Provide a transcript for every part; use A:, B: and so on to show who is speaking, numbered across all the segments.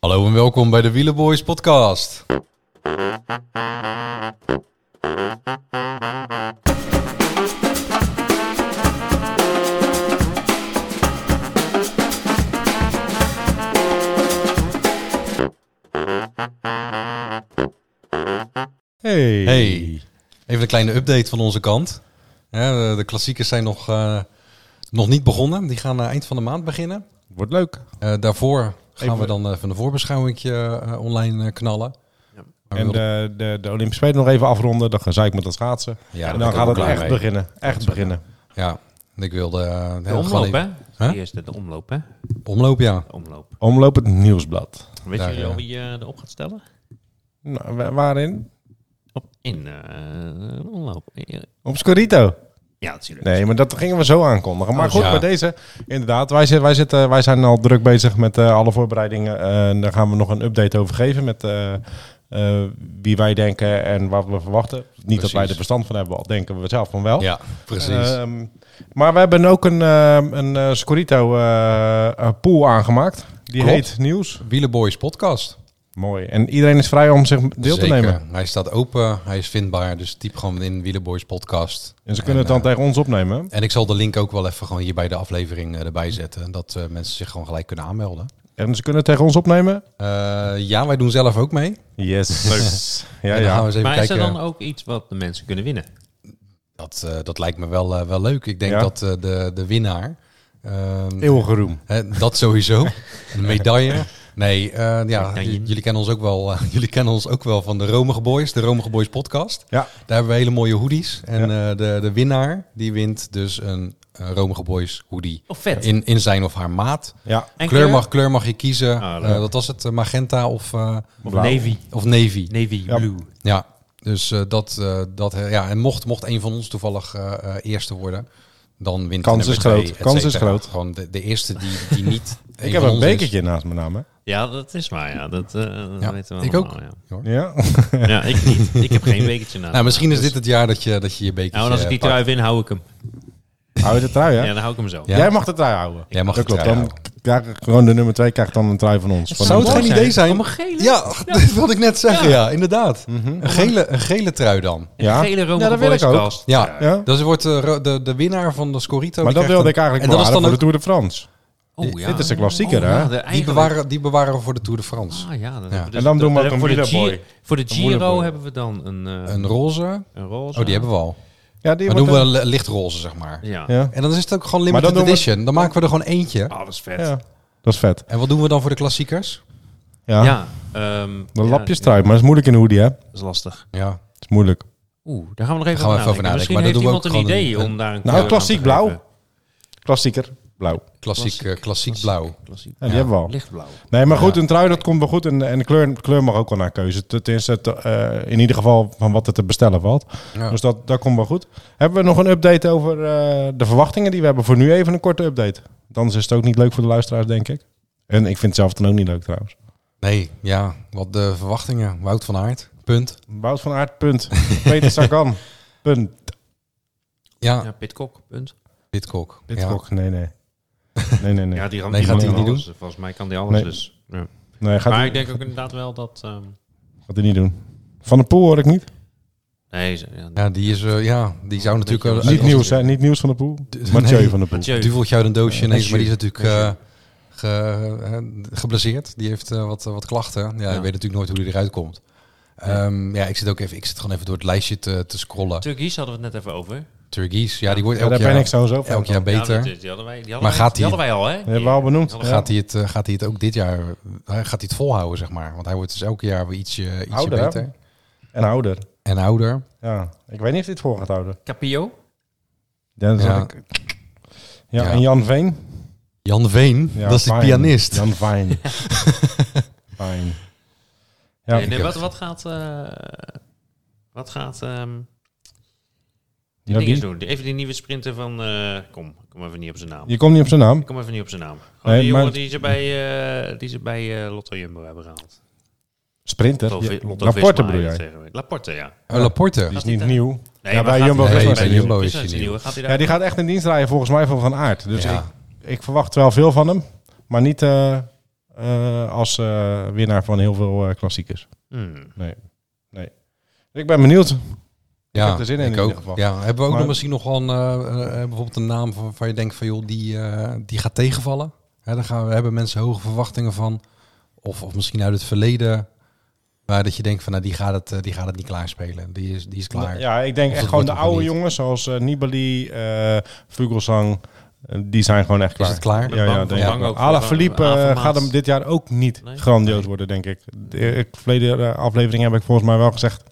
A: Hallo en welkom bij de Wielenboys podcast.
B: Hey.
A: Hey, even een kleine update van onze kant. Ja, de, de klassiekers zijn nog, eh, nog niet begonnen. Die gaan eh, eind van de maand beginnen.
B: Wordt leuk.
A: Eh, daarvoor gaan
B: Even-
A: we dan eh, even een voorbeschouwing online eh, knallen.
C: Ja.
A: Maar we
B: en
A: wilden-
B: de, de, de Olympische Spelen nog even afronden. Dan ga ik met dat schaatsen.
A: ja,
B: eh, en
A: dat-
B: dan gaat het
C: klaar
B: echt
C: mee.
B: beginnen. Echt beginnen.
A: ja, en ik wilde... eh,
C: De
A: gewoon
C: omloop,
A: even-
C: hè?
A: Huh?
C: De eerste, de omloop, hè?
A: Omloop, ja.
C: De omloop.
B: Omlopend nieuwsblad.
C: Weet
A: Daar,
C: jullie
A: ja.
C: al wie eh, erop gaat stellen?
B: Nou, wa- waarin?
C: Op, in eh, de omloop.
B: Op Scorito.
C: Ja, natuurlijk.
B: Nee, maar dat gingen we zo aankondigen. Maar
A: Oh,
B: goed,
A: ja.
B: bij deze. Inderdaad, wij, zit, wij, zitten, wij zijn al druk bezig met eh, alle voorbereidingen. Eh, en daar gaan we nog een update over geven met eh, eh, wie wij denken en wat we verwachten. Niet dat wij
A: Precies.
B: er verstand van hebben, al denken we zelf van wel.
A: Ja, precies.
B: Ehm, maar we hebben ook een, ehm, een eh, Scorito eh, eh, pool aangemaakt. Die
A: Klopt.
B: heet Nieuws.
A: Wielenboys podcast.
B: Mooi. En iedereen is vrij om zich deel te
A: Zeker.
B: nemen.
A: Hij staat open, hij is vindbaar. Dus typ gewoon in Wielenboys podcast.
B: En ze kunnen het
A: eh,
B: dan tegen ons opnemen.
A: En ik zal de link ook wel even gewoon hier bij de aflevering eh, erbij zetten. Dat eh, mensen zich gewoon gelijk kunnen aanmelden.
B: En ze kunnen het tegen ons opnemen.
A: Eh, ja, wij doen zelf ook mee.
B: Yes. Ja,
A: en dan gaan we
B: ja.
A: eens even
C: maar is
A: kijken.
C: er dan ook iets wat de mensen kunnen winnen?
A: Dat, eh, dat lijkt me wel, eh, wel leuk. Ik denk
B: Ja.
A: dat eh, de, de winnaar. ehm,
B: Eeuwige roem.
A: hè, dat sowieso. Een medaille. Nee, eh, ja, j-
C: Medaille.
A: jullie, kennen ons ook wel, eh, jullie kennen ons ook wel van de Romige Boys, de Romige Boys podcast.
B: Ja.
A: Daar hebben we hele mooie hoodies. En eh, de, de winnaar, die wint dus een eh, Romige Boys hoodie.
C: Of vet?
A: In, in zijn of haar maat.
B: Ja.
C: En
A: kleur, mag, kleur mag je kiezen.
C: Ah,
A: Eh,
C: leuk.
A: dat was het, eh, magenta of, eh,
C: Of
B: Blauw.
C: navy.
A: of navy.
C: Navy
B: Ja.
C: blue.
A: Ja, dus eh, dat, eh, dat eh, ja, en mocht, mocht een van ons toevallig eh eh, eerste worden, dan wint de
B: Kans
A: nummer
B: is
A: twee,
B: groot,
A: et
B: kans is
A: cetera.
B: groot.
A: Gewoon de, de eerste die, die niet.
B: Ik heb
A: van
B: een
A: ons is.
B: bekertje naast mijn naam. Hè?
C: Ja, dat is waar, ja. Dat, eh, dat
A: Ja,
C: weten we
A: ik
C: allemaal,
A: ook.
C: Ja.
B: Ja.
C: Ja, ik niet. Ik heb geen bekertje na.
A: Nou, misschien
B: Dus-
A: is dit het jaar dat je dat je, je bekertje. eh,
C: Nou, en als ik die
A: pakt.
C: trui win, hou ik hem.
B: Hou je de trui,
C: Ja,
B: hè?
C: dan hou ik hem zo.
A: Ja.
B: Jij mag de trui houden.
A: Jij mag
B: dat
A: de
B: klopt.
A: trui
B: Dan
A: houden.
B: krijg ik gewoon de nummer twee krijgt dan een trui van ons. Van
A: Zou
B: de-
A: het geen
C: Mooi
A: idee zijn?
C: Om een Oh, gele.
A: Ja, dat wilde ik net zeggen, ja, inderdaad.
B: Mhm.
A: Een, gele, een gele trui dan.
C: Een
B: Ja.
C: gele Rome
B: Ja, dat wil ik ook.
C: Boyskast.
A: Ja,
B: Ja.
A: dus wordt de, ro- de, de winnaar van de Scorito.
B: Maar
A: die
B: dat
A: krijgt
B: wilde
A: een-
B: ik eigenlijk
A: En dat is
B: bewaren
A: dan
B: voor de
A: ook,
B: Tour de France.
C: Oh, ja.
B: Dit is de klassieker,
C: Oh,
B: hè?
C: ja, de-
A: die,
C: eigenlijk-
A: bewaren, die bewaren we voor de Tour de France.
C: Ah ja, dan
A: Ja.
C: hebben we
B: En dan doen we
C: hebben
B: ook een
C: voor de,
B: wielerboy.
C: Gi- voor de
B: Een wielerboy.
C: Giro hebben we dan een, eh,
A: Een roze.
C: een roze.
A: Oh, die hebben we al.
B: Ja, die
A: Maar doen
B: wordt,
A: we een lichtroze, zeg maar.
C: Ja.
B: eh, Ja.
A: En dan is het ook gewoon
B: Maar
A: limited
B: dan doen we-
A: edition. Dan maken we er gewoon eentje.
C: Ah, dat is vet.
B: ja. Dat is vet.
A: En wat doen we dan voor de klassiekers?
B: Ja.
C: Ja, ehm,
B: De
C: ja,
B: lapjes
C: ja,
B: trui, maar dat is moeilijk in een hoodie, hè? Dat
C: Dat is lastig.
A: Ja.
B: is moeilijk.
C: Oeh, daar gaan we nog even,
A: Gaan we
C: over
A: even over
C: nadenken.
A: nadenken,
C: Misschien
A: maar dat
C: heeft
A: doen we
C: iemand
A: ook
C: een
A: gewoon
C: idee
A: een-
C: om daar een
B: Nou,
C: kleur
B: klassiek
C: aan te
B: blauw.
C: geven.
B: Klassieker, blauw. Ja,
A: Klassiek, eh, klassiek, blauw.
C: Klassiek.
B: die hebben we al.
C: Lichtblauw.
B: Nee, maar goed, een trui, dat komt wel goed. En, en de kleur, kleur mag ook wel naar keuze. Het is het, eh, in ieder geval van wat er te bestellen valt.
A: Ja.
B: Dus dat, dat komt wel goed. Hebben we nog een update over eh, de verwachtingen die we hebben? Voor nu even een korte update. Anders is het ook niet leuk voor de luisteraars, denk ik. En ik vind het zelf dan ook niet leuk trouwens.
A: Nee, ja. Wat de verwachtingen. Wout van Aert. Punt.
B: Wout van Aert, punt. Peter Sagan, punt.
A: Ja,
C: Ja, Pitcock, punt.
A: Pitcock. Ja.
B: Pitcock, nee, nee. Nee, nee, nee.
C: Ja, die, ram-
A: Nee,
C: die
A: gaat
C: kan
A: hij niet
C: alles. Volgens mij kan die alles
B: Nee.
C: dus. Ja.
B: nee gaat,
C: Maar
B: hij,
C: ik denk ook inderdaad wel dat... ehm,
B: gaat hij niet doen. Van de Poel hoor ik niet.
C: nee, ze- ja,
A: Ja, die, is, eh, ja, die zou natuurlijk... eh,
C: beetje
A: als-
B: Niet
C: nieuw.
B: nieuws, hè? Niet nieuws van de Poel.
A: D-
B: Mathieu
A: nee.
B: van de Poel.
C: Mathieu.
A: Duveltje uit een doosje ineens, maar die is natuurlijk eh,
C: Mathieu.
A: ge- eh, geblesseerd. Die heeft eh, wat, wat klachten. Ja,
C: Ja.
A: ik weet natuurlijk nooit hoe die eruit komt. Ehm, ja, ik zit ook even, ik zit gewoon even door het lijstje te, te scrollen.
C: Turkies hadden we het net even over.
A: Turkies, ja, die wordt
B: Ja,
A: elk
B: daar ben ik
A: jaar,
B: sowieso van.
A: elk jaar
C: Ja,
A: beter.
C: die, die hadden wij, die hadden
A: Maar
C: wij,
A: gaat
C: die
A: hij-
C: hadden wij al, hè?
B: hebben we al benoemd.
C: Die hadden wij
A: Gaat hij, het, eh, gaat hij het ook dit jaar, eh, gaat hij het volhouden, zeg maar? Want hij wordt dus elk jaar weer ietsje, ietsje
B: Ouder, hè?
A: beter.
B: En ouder.
A: En ouder.
B: Ja, ik weet niet of dit voor gaat houden.
C: Capio?
B: Ja, dat
A: Ja.
B: zag ik. Ja,
A: Ja.
B: en Jan Veen.
A: Jan Veen,
B: Ja,
A: dat is die
B: Veen.
A: pianist.
B: Jan Veen. Veen. Ja,
C: nee, nee,
A: ik
C: wat,
A: heb-
C: wat gaat... eh, wat gaat... ehm, Die
B: ja,
C: dinges
B: die,
C: doen. Die- Even die nieuwe sprinter van... eh, kom, kom even niet op zijn naam.
B: je komt niet op zijn naam.
C: Kom even niet op zijn naam. Gewoon
B: Nee,
C: die
B: maar-
C: jongen die ze bij, eh, die ze bij eh, Lotto Jumbo hebben gehaald.
B: Sprinter.
C: Lotto-
B: Ja,
C: Lotto
B: Laporte
C: Visma
B: bedoel
C: heet
B: jij.
C: het tegenwoordig. Laporte, ja.
A: Oh, Laporte.
B: Die is
C: die
B: niet
C: daar-
B: nieuw.
C: Nee,
B: Ja,
C: maar
B: bij
C: gaat
B: Jumbo
C: hij-
A: Visma
C: Nee,
A: is hij
C: bij
A: nieuw.
C: Jumbo is
A: Visma
C: hij
A: is hij
C: nieuw.
A: nieuw.
C: Gaat hij daar...
B: Ja, die gaat echt in dienst rijden volgens mij van Van Aert. Dus
A: Ja.
B: ik, ik verwacht wel veel van hem. Maar niet eh, eh, als eh, winnaar van heel veel eh, klassiekers.
C: Hmm.
B: Ik ben benieuwd.
A: Ja,
B: heb er zin in, in
A: ook.
B: ieder geval.
A: Ja, hebben we ook
B: Maar-
A: nog misschien nog wel een, eh, eh, bijvoorbeeld een naam van- waar je denkt van joh, die, eh, die gaat tegenvallen. Hè, daar gaan we, hebben mensen hoge verwachtingen van. Of, of misschien uit het verleden. Waar dat je denkt van nou, die gaat het, eh, die gaat het niet klaarspelen. Die is, die is klaar.
B: Ja, ik denk
A: Of
B: echt
A: het
B: gewoon
A: wordt hem
B: de
A: gewoon
B: oude
A: niet.
B: jongens zoals eh, Nibali, eh Vugelsang. eh, die zijn gewoon echt
A: Is
B: klaar.
A: het klaar?
B: Ja, ja,
C: Bang-
B: denk
A: ik
C: bang
A: wel.
C: ook voor
B: Ala
C: van
B: Philippe eh,
C: Avermaat.
B: gaat hem dit jaar ook niet
C: Nee?
B: grandioos
C: Nee.
B: worden, denk ik. De ik, verleden eh, aflevering heb ik volgens mij wel gezegd,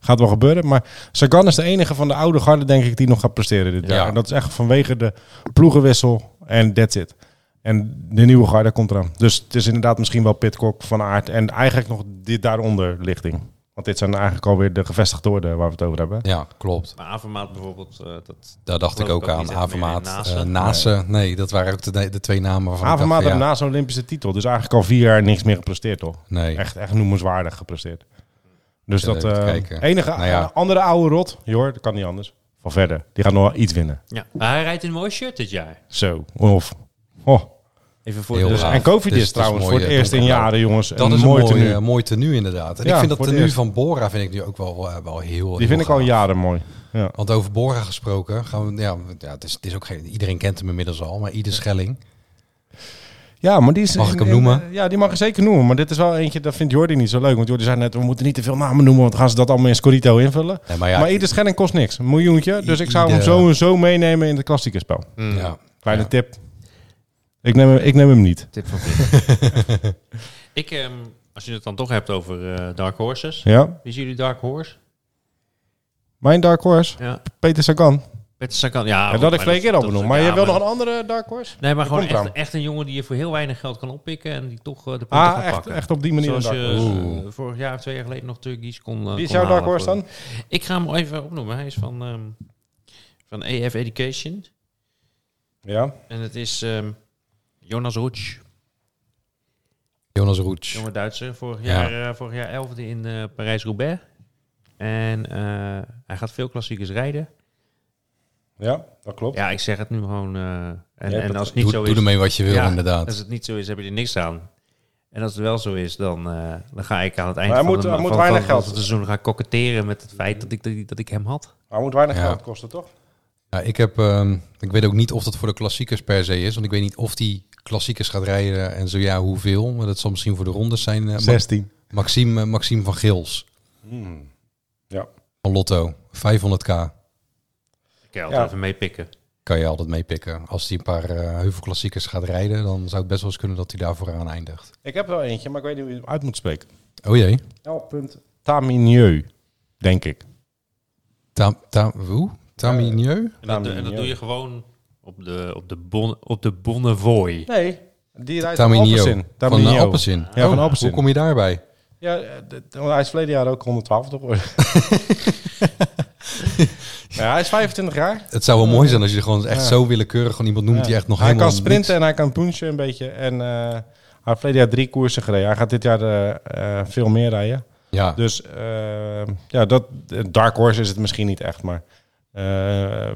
B: gaat wel gebeuren. Maar Sagan is de enige van de oude garde, denk ik, die nog gaat presteren dit
A: Ja.
B: jaar. En dat is echt vanwege de ploegenwissel en that's it. En de nieuwe garde komt eraan. Dus het is inderdaad misschien wel Pitcock van aard. En eigenlijk nog dit daaronder lichting. Want dit zijn eigenlijk alweer de gevestigde orde waar we het over hebben.
A: Ja, klopt.
C: Maar Avermaat bijvoorbeeld, eh, dat...
A: Daar dacht ik
C: Geloof
A: ook
C: ik ook
A: aan.
C: niet echt
A: Avermaat,
C: meer.
A: eh
C: Nase?
A: Nase. Nee. dat waren ook de, de twee namen waarvan ik
B: Avermaat
A: dacht
B: heeft
A: van, ja,
B: na zijn Olympische titel. Dus eigenlijk al vier jaar niks meer gepresteerd, toch?
A: Nee.
B: Echt, echt noemenswaardig gepresteerd. Dus
A: Ja,
B: dat
A: even
B: eh,
A: kijken.
B: enige
A: Nou ja.
B: eh, andere oude rot, Jor, dat kan niet anders. Van verder, die gaat nog wel iets winnen.
C: Ja. Maar hij rijdt in een mooi shirt dit jaar.
B: Zo, of. Oh.
C: Even voor
A: Heel
C: de...
A: raar. Ja,
B: en
A: dus
B: Covid is
A: het is
B: trouwens
A: mooi,
B: voor het
A: eh,
B: eerst in
A: donkerblauw.
B: jaren, jongens.
A: Dat is een eh,
B: mooi
A: mooi
B: tenue.
A: tenue, mooi tenue inderdaad. En
B: Ja,
A: ik vind dat
B: voor het
A: tenue
B: eerst.
A: van Bora vind ik nu ook wel, eh, wel heel
B: Die vind ik al
A: ja.
B: jaren mooi. Ja.
A: Want over Bora gesproken, gaan we, ja, ja het, is, het is ook geen, iedereen kent hem inmiddels al, maar ieder Schelling.
B: ja, maar die is...
A: Mag
B: in-
A: ik hem
B: in-
A: noemen?
B: eh, ja, die mag je zeker noemen. Maar dit is wel eentje, dat vindt Jordi niet zo leuk. Want Jordi zei net, we moeten niet te veel namen noemen, want dan gaan ze dat allemaal in Scorito invullen.
A: Nee, maar ja,
B: maar ieder schenning kost niks. Een miljoentje. Dus ik zou hem
A: Ieder-
B: zo en zo meenemen in het klassieke spel.
C: Hmm.
A: ja,
B: Kleine
A: Ja.
B: tip. Ik neem, hem, ik neem hem niet.
C: Tip van Flip. Ik, ehm, als je het dan toch hebt over eh, Dark Horses.
B: Ja.
C: Wie is jullie Dark Horse?
B: Mijn Dark Horse,
C: Ja.
B: Peter Sagan.
C: Peter Sagan. Ja,
B: En
C: goed,
B: dat ik
C: maar
B: twee keer al
C: dat-
B: benoemd.
C: dat-
B: Maar
C: ja,
B: je wil nog een andere Dark Horse?
C: Nee, maar gewoon
B: komt eraan.
C: echt, echt een jongen die je voor heel weinig geld kan oppikken en die toch eh, de punten
B: Ah,
C: gaat
B: echt,
C: pakken.
B: echt op die manier een
C: Zoals
B: Dark
C: je
B: Horse.
A: Horse.
C: eh, vorig jaar of twee jaar geleden nog Turkish kon eh,
B: Wie is
C: kon
B: jouw Dark
C: halen
B: Horse
C: voor-
B: dan?
C: Ik ga hem even opnoemen. Hij is van, ehm, van AF Education.
B: Ja.
C: En het is ehm, Jonas Roetsch,
A: Jonas Roets.
C: jonge Duitser. Vorig
A: Ja.
C: jaar, eh, vorig jaar elfde in eh, Parijs-Roubaix. En eh, hij gaat veel klassiekers rijden.
B: ja, dat klopt.
C: Ja, ik zeg het nu gewoon. eh, en,
B: Ja,
C: en
B: dat-
C: als het niet
A: Doe,
C: zo
A: doe
C: is,
A: ermee wat je wil,
C: Ja,
A: inderdaad.
C: als het niet zo is, heb je er niks aan. En als het wel zo is, dan, eh, dan ga ik aan het eind
B: Maar hij
C: van,
B: moet-
C: de,
B: hij
C: van,
B: moet
C: van-
B: weinig
C: van
B: geld.
C: het seizoen gaan koketteren met het feit dat ik, dat, ik- dat ik hem had.
B: Maar moet weinig
A: Ja.
B: geld kosten, toch?
A: Ja, ik, heb, ehm, ik weet ook niet of dat voor de klassiekers per se is, want ik weet niet of die klassiekers gaat rijden en zo ja, hoeveel. Maar dat zal misschien voor de rondes zijn. eh, Ma-
B: 16.
A: Maxime, eh, Maxime van Gils van Lotto, 500k.
C: Ik kan
B: Ja.
C: altijd even meepikken.
A: Kan je altijd meepikken. Als hij een paar eh, heuvelklassiekers gaat rijden, dan zou het best wel eens kunnen dat hij daar vooraan eindigt.
B: Ik heb er wel eentje, maar ik weet niet hoe je hem uit moet spreken.
A: Oh jee.
B: L. Taminieu, denk ik.
A: Tam, tam, hoe? Taminieu?
C: En dat, en dat
B: Taminieu.
C: doe je gewoon op de, op de, bon, op de Bonnevoy.
B: Nee. Die rijdt van
A: Taminieu.
B: Alpecin.
A: Van
B: Taminieu.
A: eh, Alpecin.
B: Ja, van
A: Oh,
B: Alpecin.
A: Hoe kom je daarbij?
B: Ja, eh, d- want hij is verleden jaar ook 112 toch? ja, hij is 25 jaar.
A: Het zou wel mooi zijn als je gewoon echt zo willekeurig gewoon iemand noemt
B: Ja.
A: die echt nog
B: hij
A: helemaal
B: kan sprinten
A: niks-
B: en hij kan punchen een beetje. En eh, hij heeft verleden jaar drie koersen gereden. Hij gaat dit jaar eh, eh, veel meer rijden.
A: Ja,
B: Dus eh, ja, dat, Dark Horse is het misschien niet echt. Maar eh,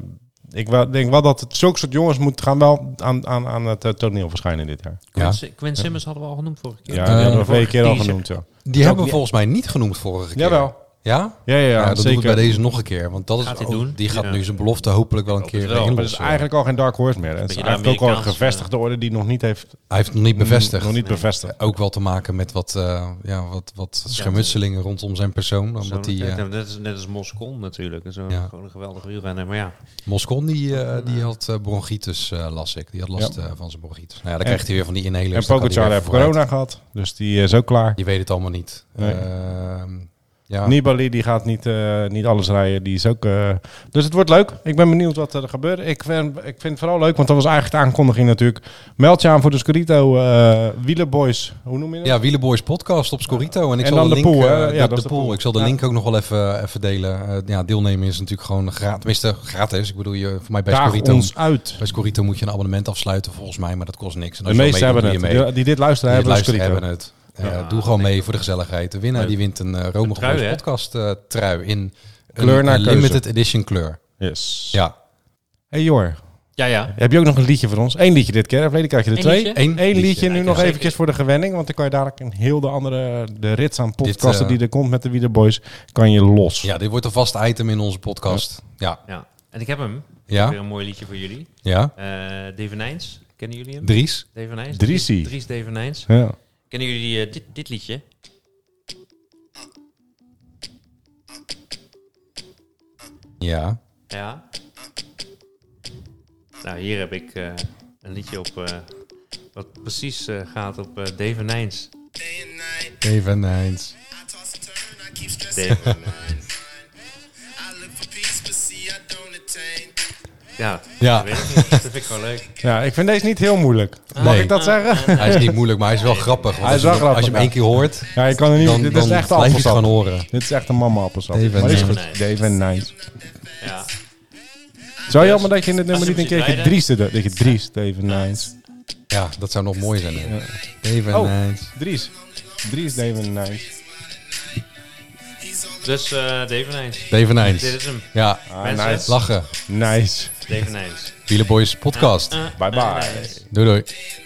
B: ik wel, denk wel dat het, zulke soort jongens moet gaan wel aan, aan, aan het eh, toneel verschijnen dit jaar.
A: ja.
C: Quinn, Quinn Simmons hadden we al genoemd vorige keer.
B: Ja,
A: Eh,
B: die hadden we vorige keer al
C: teaser.
B: genoemd. Ja,
A: die hebben we
B: die-
A: volgens mij niet genoemd vorige keer.
B: Jawel.
A: Ja?
B: ja, ja,
A: Ja,
B: ja,
A: dat doen we
B: zeker.
A: bij deze nog een keer. Want dat is
C: Gaat hij
A: ook-
C: doen?
A: die gaat
C: Ja.
A: nu zijn belofte hopelijk wel een
C: Ik hoop
A: keer
C: het wel. Dus-
A: inlossen.
B: Maar het is eigenlijk al geen Dark Horse meer. hè. Het is
C: Beetje de
B: eigenlijk ook al een
C: Amerikaanse-
B: gevestigde orde die nog niet heeft
A: Hij heeft het nog niet bevestigd.
B: Mm, Nog niet bevestigd.
A: Ook wel te maken met wat, eh, ja, wat, wat schermutselingen rondom zijn persoon.
C: Zo'n-
A: Omdat die eh
C: net, als, net als Moscon natuurlijk. Zo,
A: Ja.
C: Gewoon een geweldige wielrenner. Maar ja,
A: Moscon die, eh, die had eh, bronchitis, eh, las ik. Die had last eh, van zijn bronchitis. Nou ja, dan
B: En-
A: krijgt hij weer van die inhalers.
B: En
A: dan kan hij
B: Pogacar
A: weer
B: heeft
A: vooruit.
B: corona gehad, dus die is ook klaar.
A: Die weet het allemaal niet.
B: Nee.
A: Ehm, ja.
B: Nibali die gaat niet, eh, niet alles rijden, die is ook... eh, dus het wordt leuk. Ik ben benieuwd wat er gebeurt. Ik, ben, ik vind het vooral leuk, want dat was eigenlijk de aankondiging natuurlijk. Meld je aan voor de Scorito eh Wielerboys. Hoe noem je dat?
A: Ja, Wielenboys podcast op Scorito. En ik
B: En
A: zal
B: dan
A: de,
B: de
A: link,
B: pool, hè?
A: eh,
B: Ja,
A: de-
B: dat
A: de,
B: is de
A: pool.
B: pool.
A: Ik zal de
B: Ja.
A: link ook nog wel even, even delen. Eh, ja, deelnemen is natuurlijk gewoon gratis. Tenminste, gratis. Ik bedoel, je, voor mij bij
B: Daag
A: Scorito.
B: ons uit.
A: Bij Scorito moet je een abonnement afsluiten volgens mij, maar dat kost niks. En
B: De
A: als je
B: meesten
A: al meedoet,
B: hebben het.
A: doe je mee.
B: Die, die dit
A: Die
B: luisteren hebben
A: het luisteren
B: Scorito.
A: hebben het. Eh,
C: Ja,
A: doe gewoon mee voor de gezelligheid. De winnaar
C: Leuk.
A: die wint een eh Rome
C: Een trui,
A: Goos
C: hè?
A: podcast eh, trui in
B: Kleur
A: een,
B: naar
A: eh,
B: keuze.
A: limited edition kleur.
B: Yes.
A: Ja.
B: Hey Jor,
C: Ja, ja.
B: Heb je ook nog een liedje voor ons? Eén liedje dit keer. Of nee, dan krijg je er
C: Eén
B: twee.
C: liedje?
A: Eén
B: Eén liedje, nu
C: Ja,
B: nog
C: zeker.
B: eventjes voor de gewenning. Want dan kan je dadelijk een heel de andere de rits aan podcasten
A: Dit, eh,
B: die er komt met de Wieder Boys, kan je los.
A: Ja, dit wordt een vast item in onze podcast. Ja.
C: ja. En ik heb hem. Ik heb
A: Ja.
C: Weer een mooi liedje voor jullie.
A: Ja.
C: Eh Devenijns. Kennen jullie hem?
A: Dries.
C: Devenijns.
B: Driesie.
C: Dries Devenijns.
B: Ja.
C: Kennen jullie eh, dit, dit liedje?
A: Ja.
C: Ja. Nou, hier heb ik eh, een liedje op. eh, wat precies eh, gaat op eh Devenijns.
D: Day and night,
A: Even eens.
D: I toss and turn, I keep stressing
C: Dave.
D: my mind. I look for peace, but see, I don't attain.
C: Ja.
A: Ja.
C: Dat, weet ik niet. dat vind ik wel leuk.
B: ja, ik vind deze niet heel moeilijk. Mag
A: Nee.
B: ik dat zeggen?
A: Hij is niet moeilijk, maar hij is wel grappig. want
B: Hij
A: als je
B: is wel
A: hem- Als
B: grappig,
A: je hem
B: ja.
A: één keer hoort,
B: Ja, ik kan er niet.
A: dan,
B: dit is
A: dan
B: echt
A: blijf je het
B: appelsap.
A: gaan horen.
B: Dit is echt een mama appelsap.
A: Dave en
B: Maar is
A: Nijs.
B: goed. Dave en Nijs.
C: Ja.
B: Zo jammer dat je in het nummer
C: Als je
B: niet een
C: hem
B: keertje
C: ziet rijden.
B: Dries doet. Dat je Dries, Dave en Nijs.
A: Ja, dat zou nog mooi zijn. hè. Even
B: Oh.
A: eens.
B: Dries. Dries, Dave en Nijs.
C: Dus eh Devenijns.
A: Even
C: Dit
A: eens.
C: is hem. Ah.
A: Ja.
C: Mensen.
B: nice.
A: Lachen.
B: Nice.
C: Devenijns.
A: Wielenboys podcast.
C: Eh,
B: Bye
C: eh,
B: bye.
C: nice.
A: Doei doei.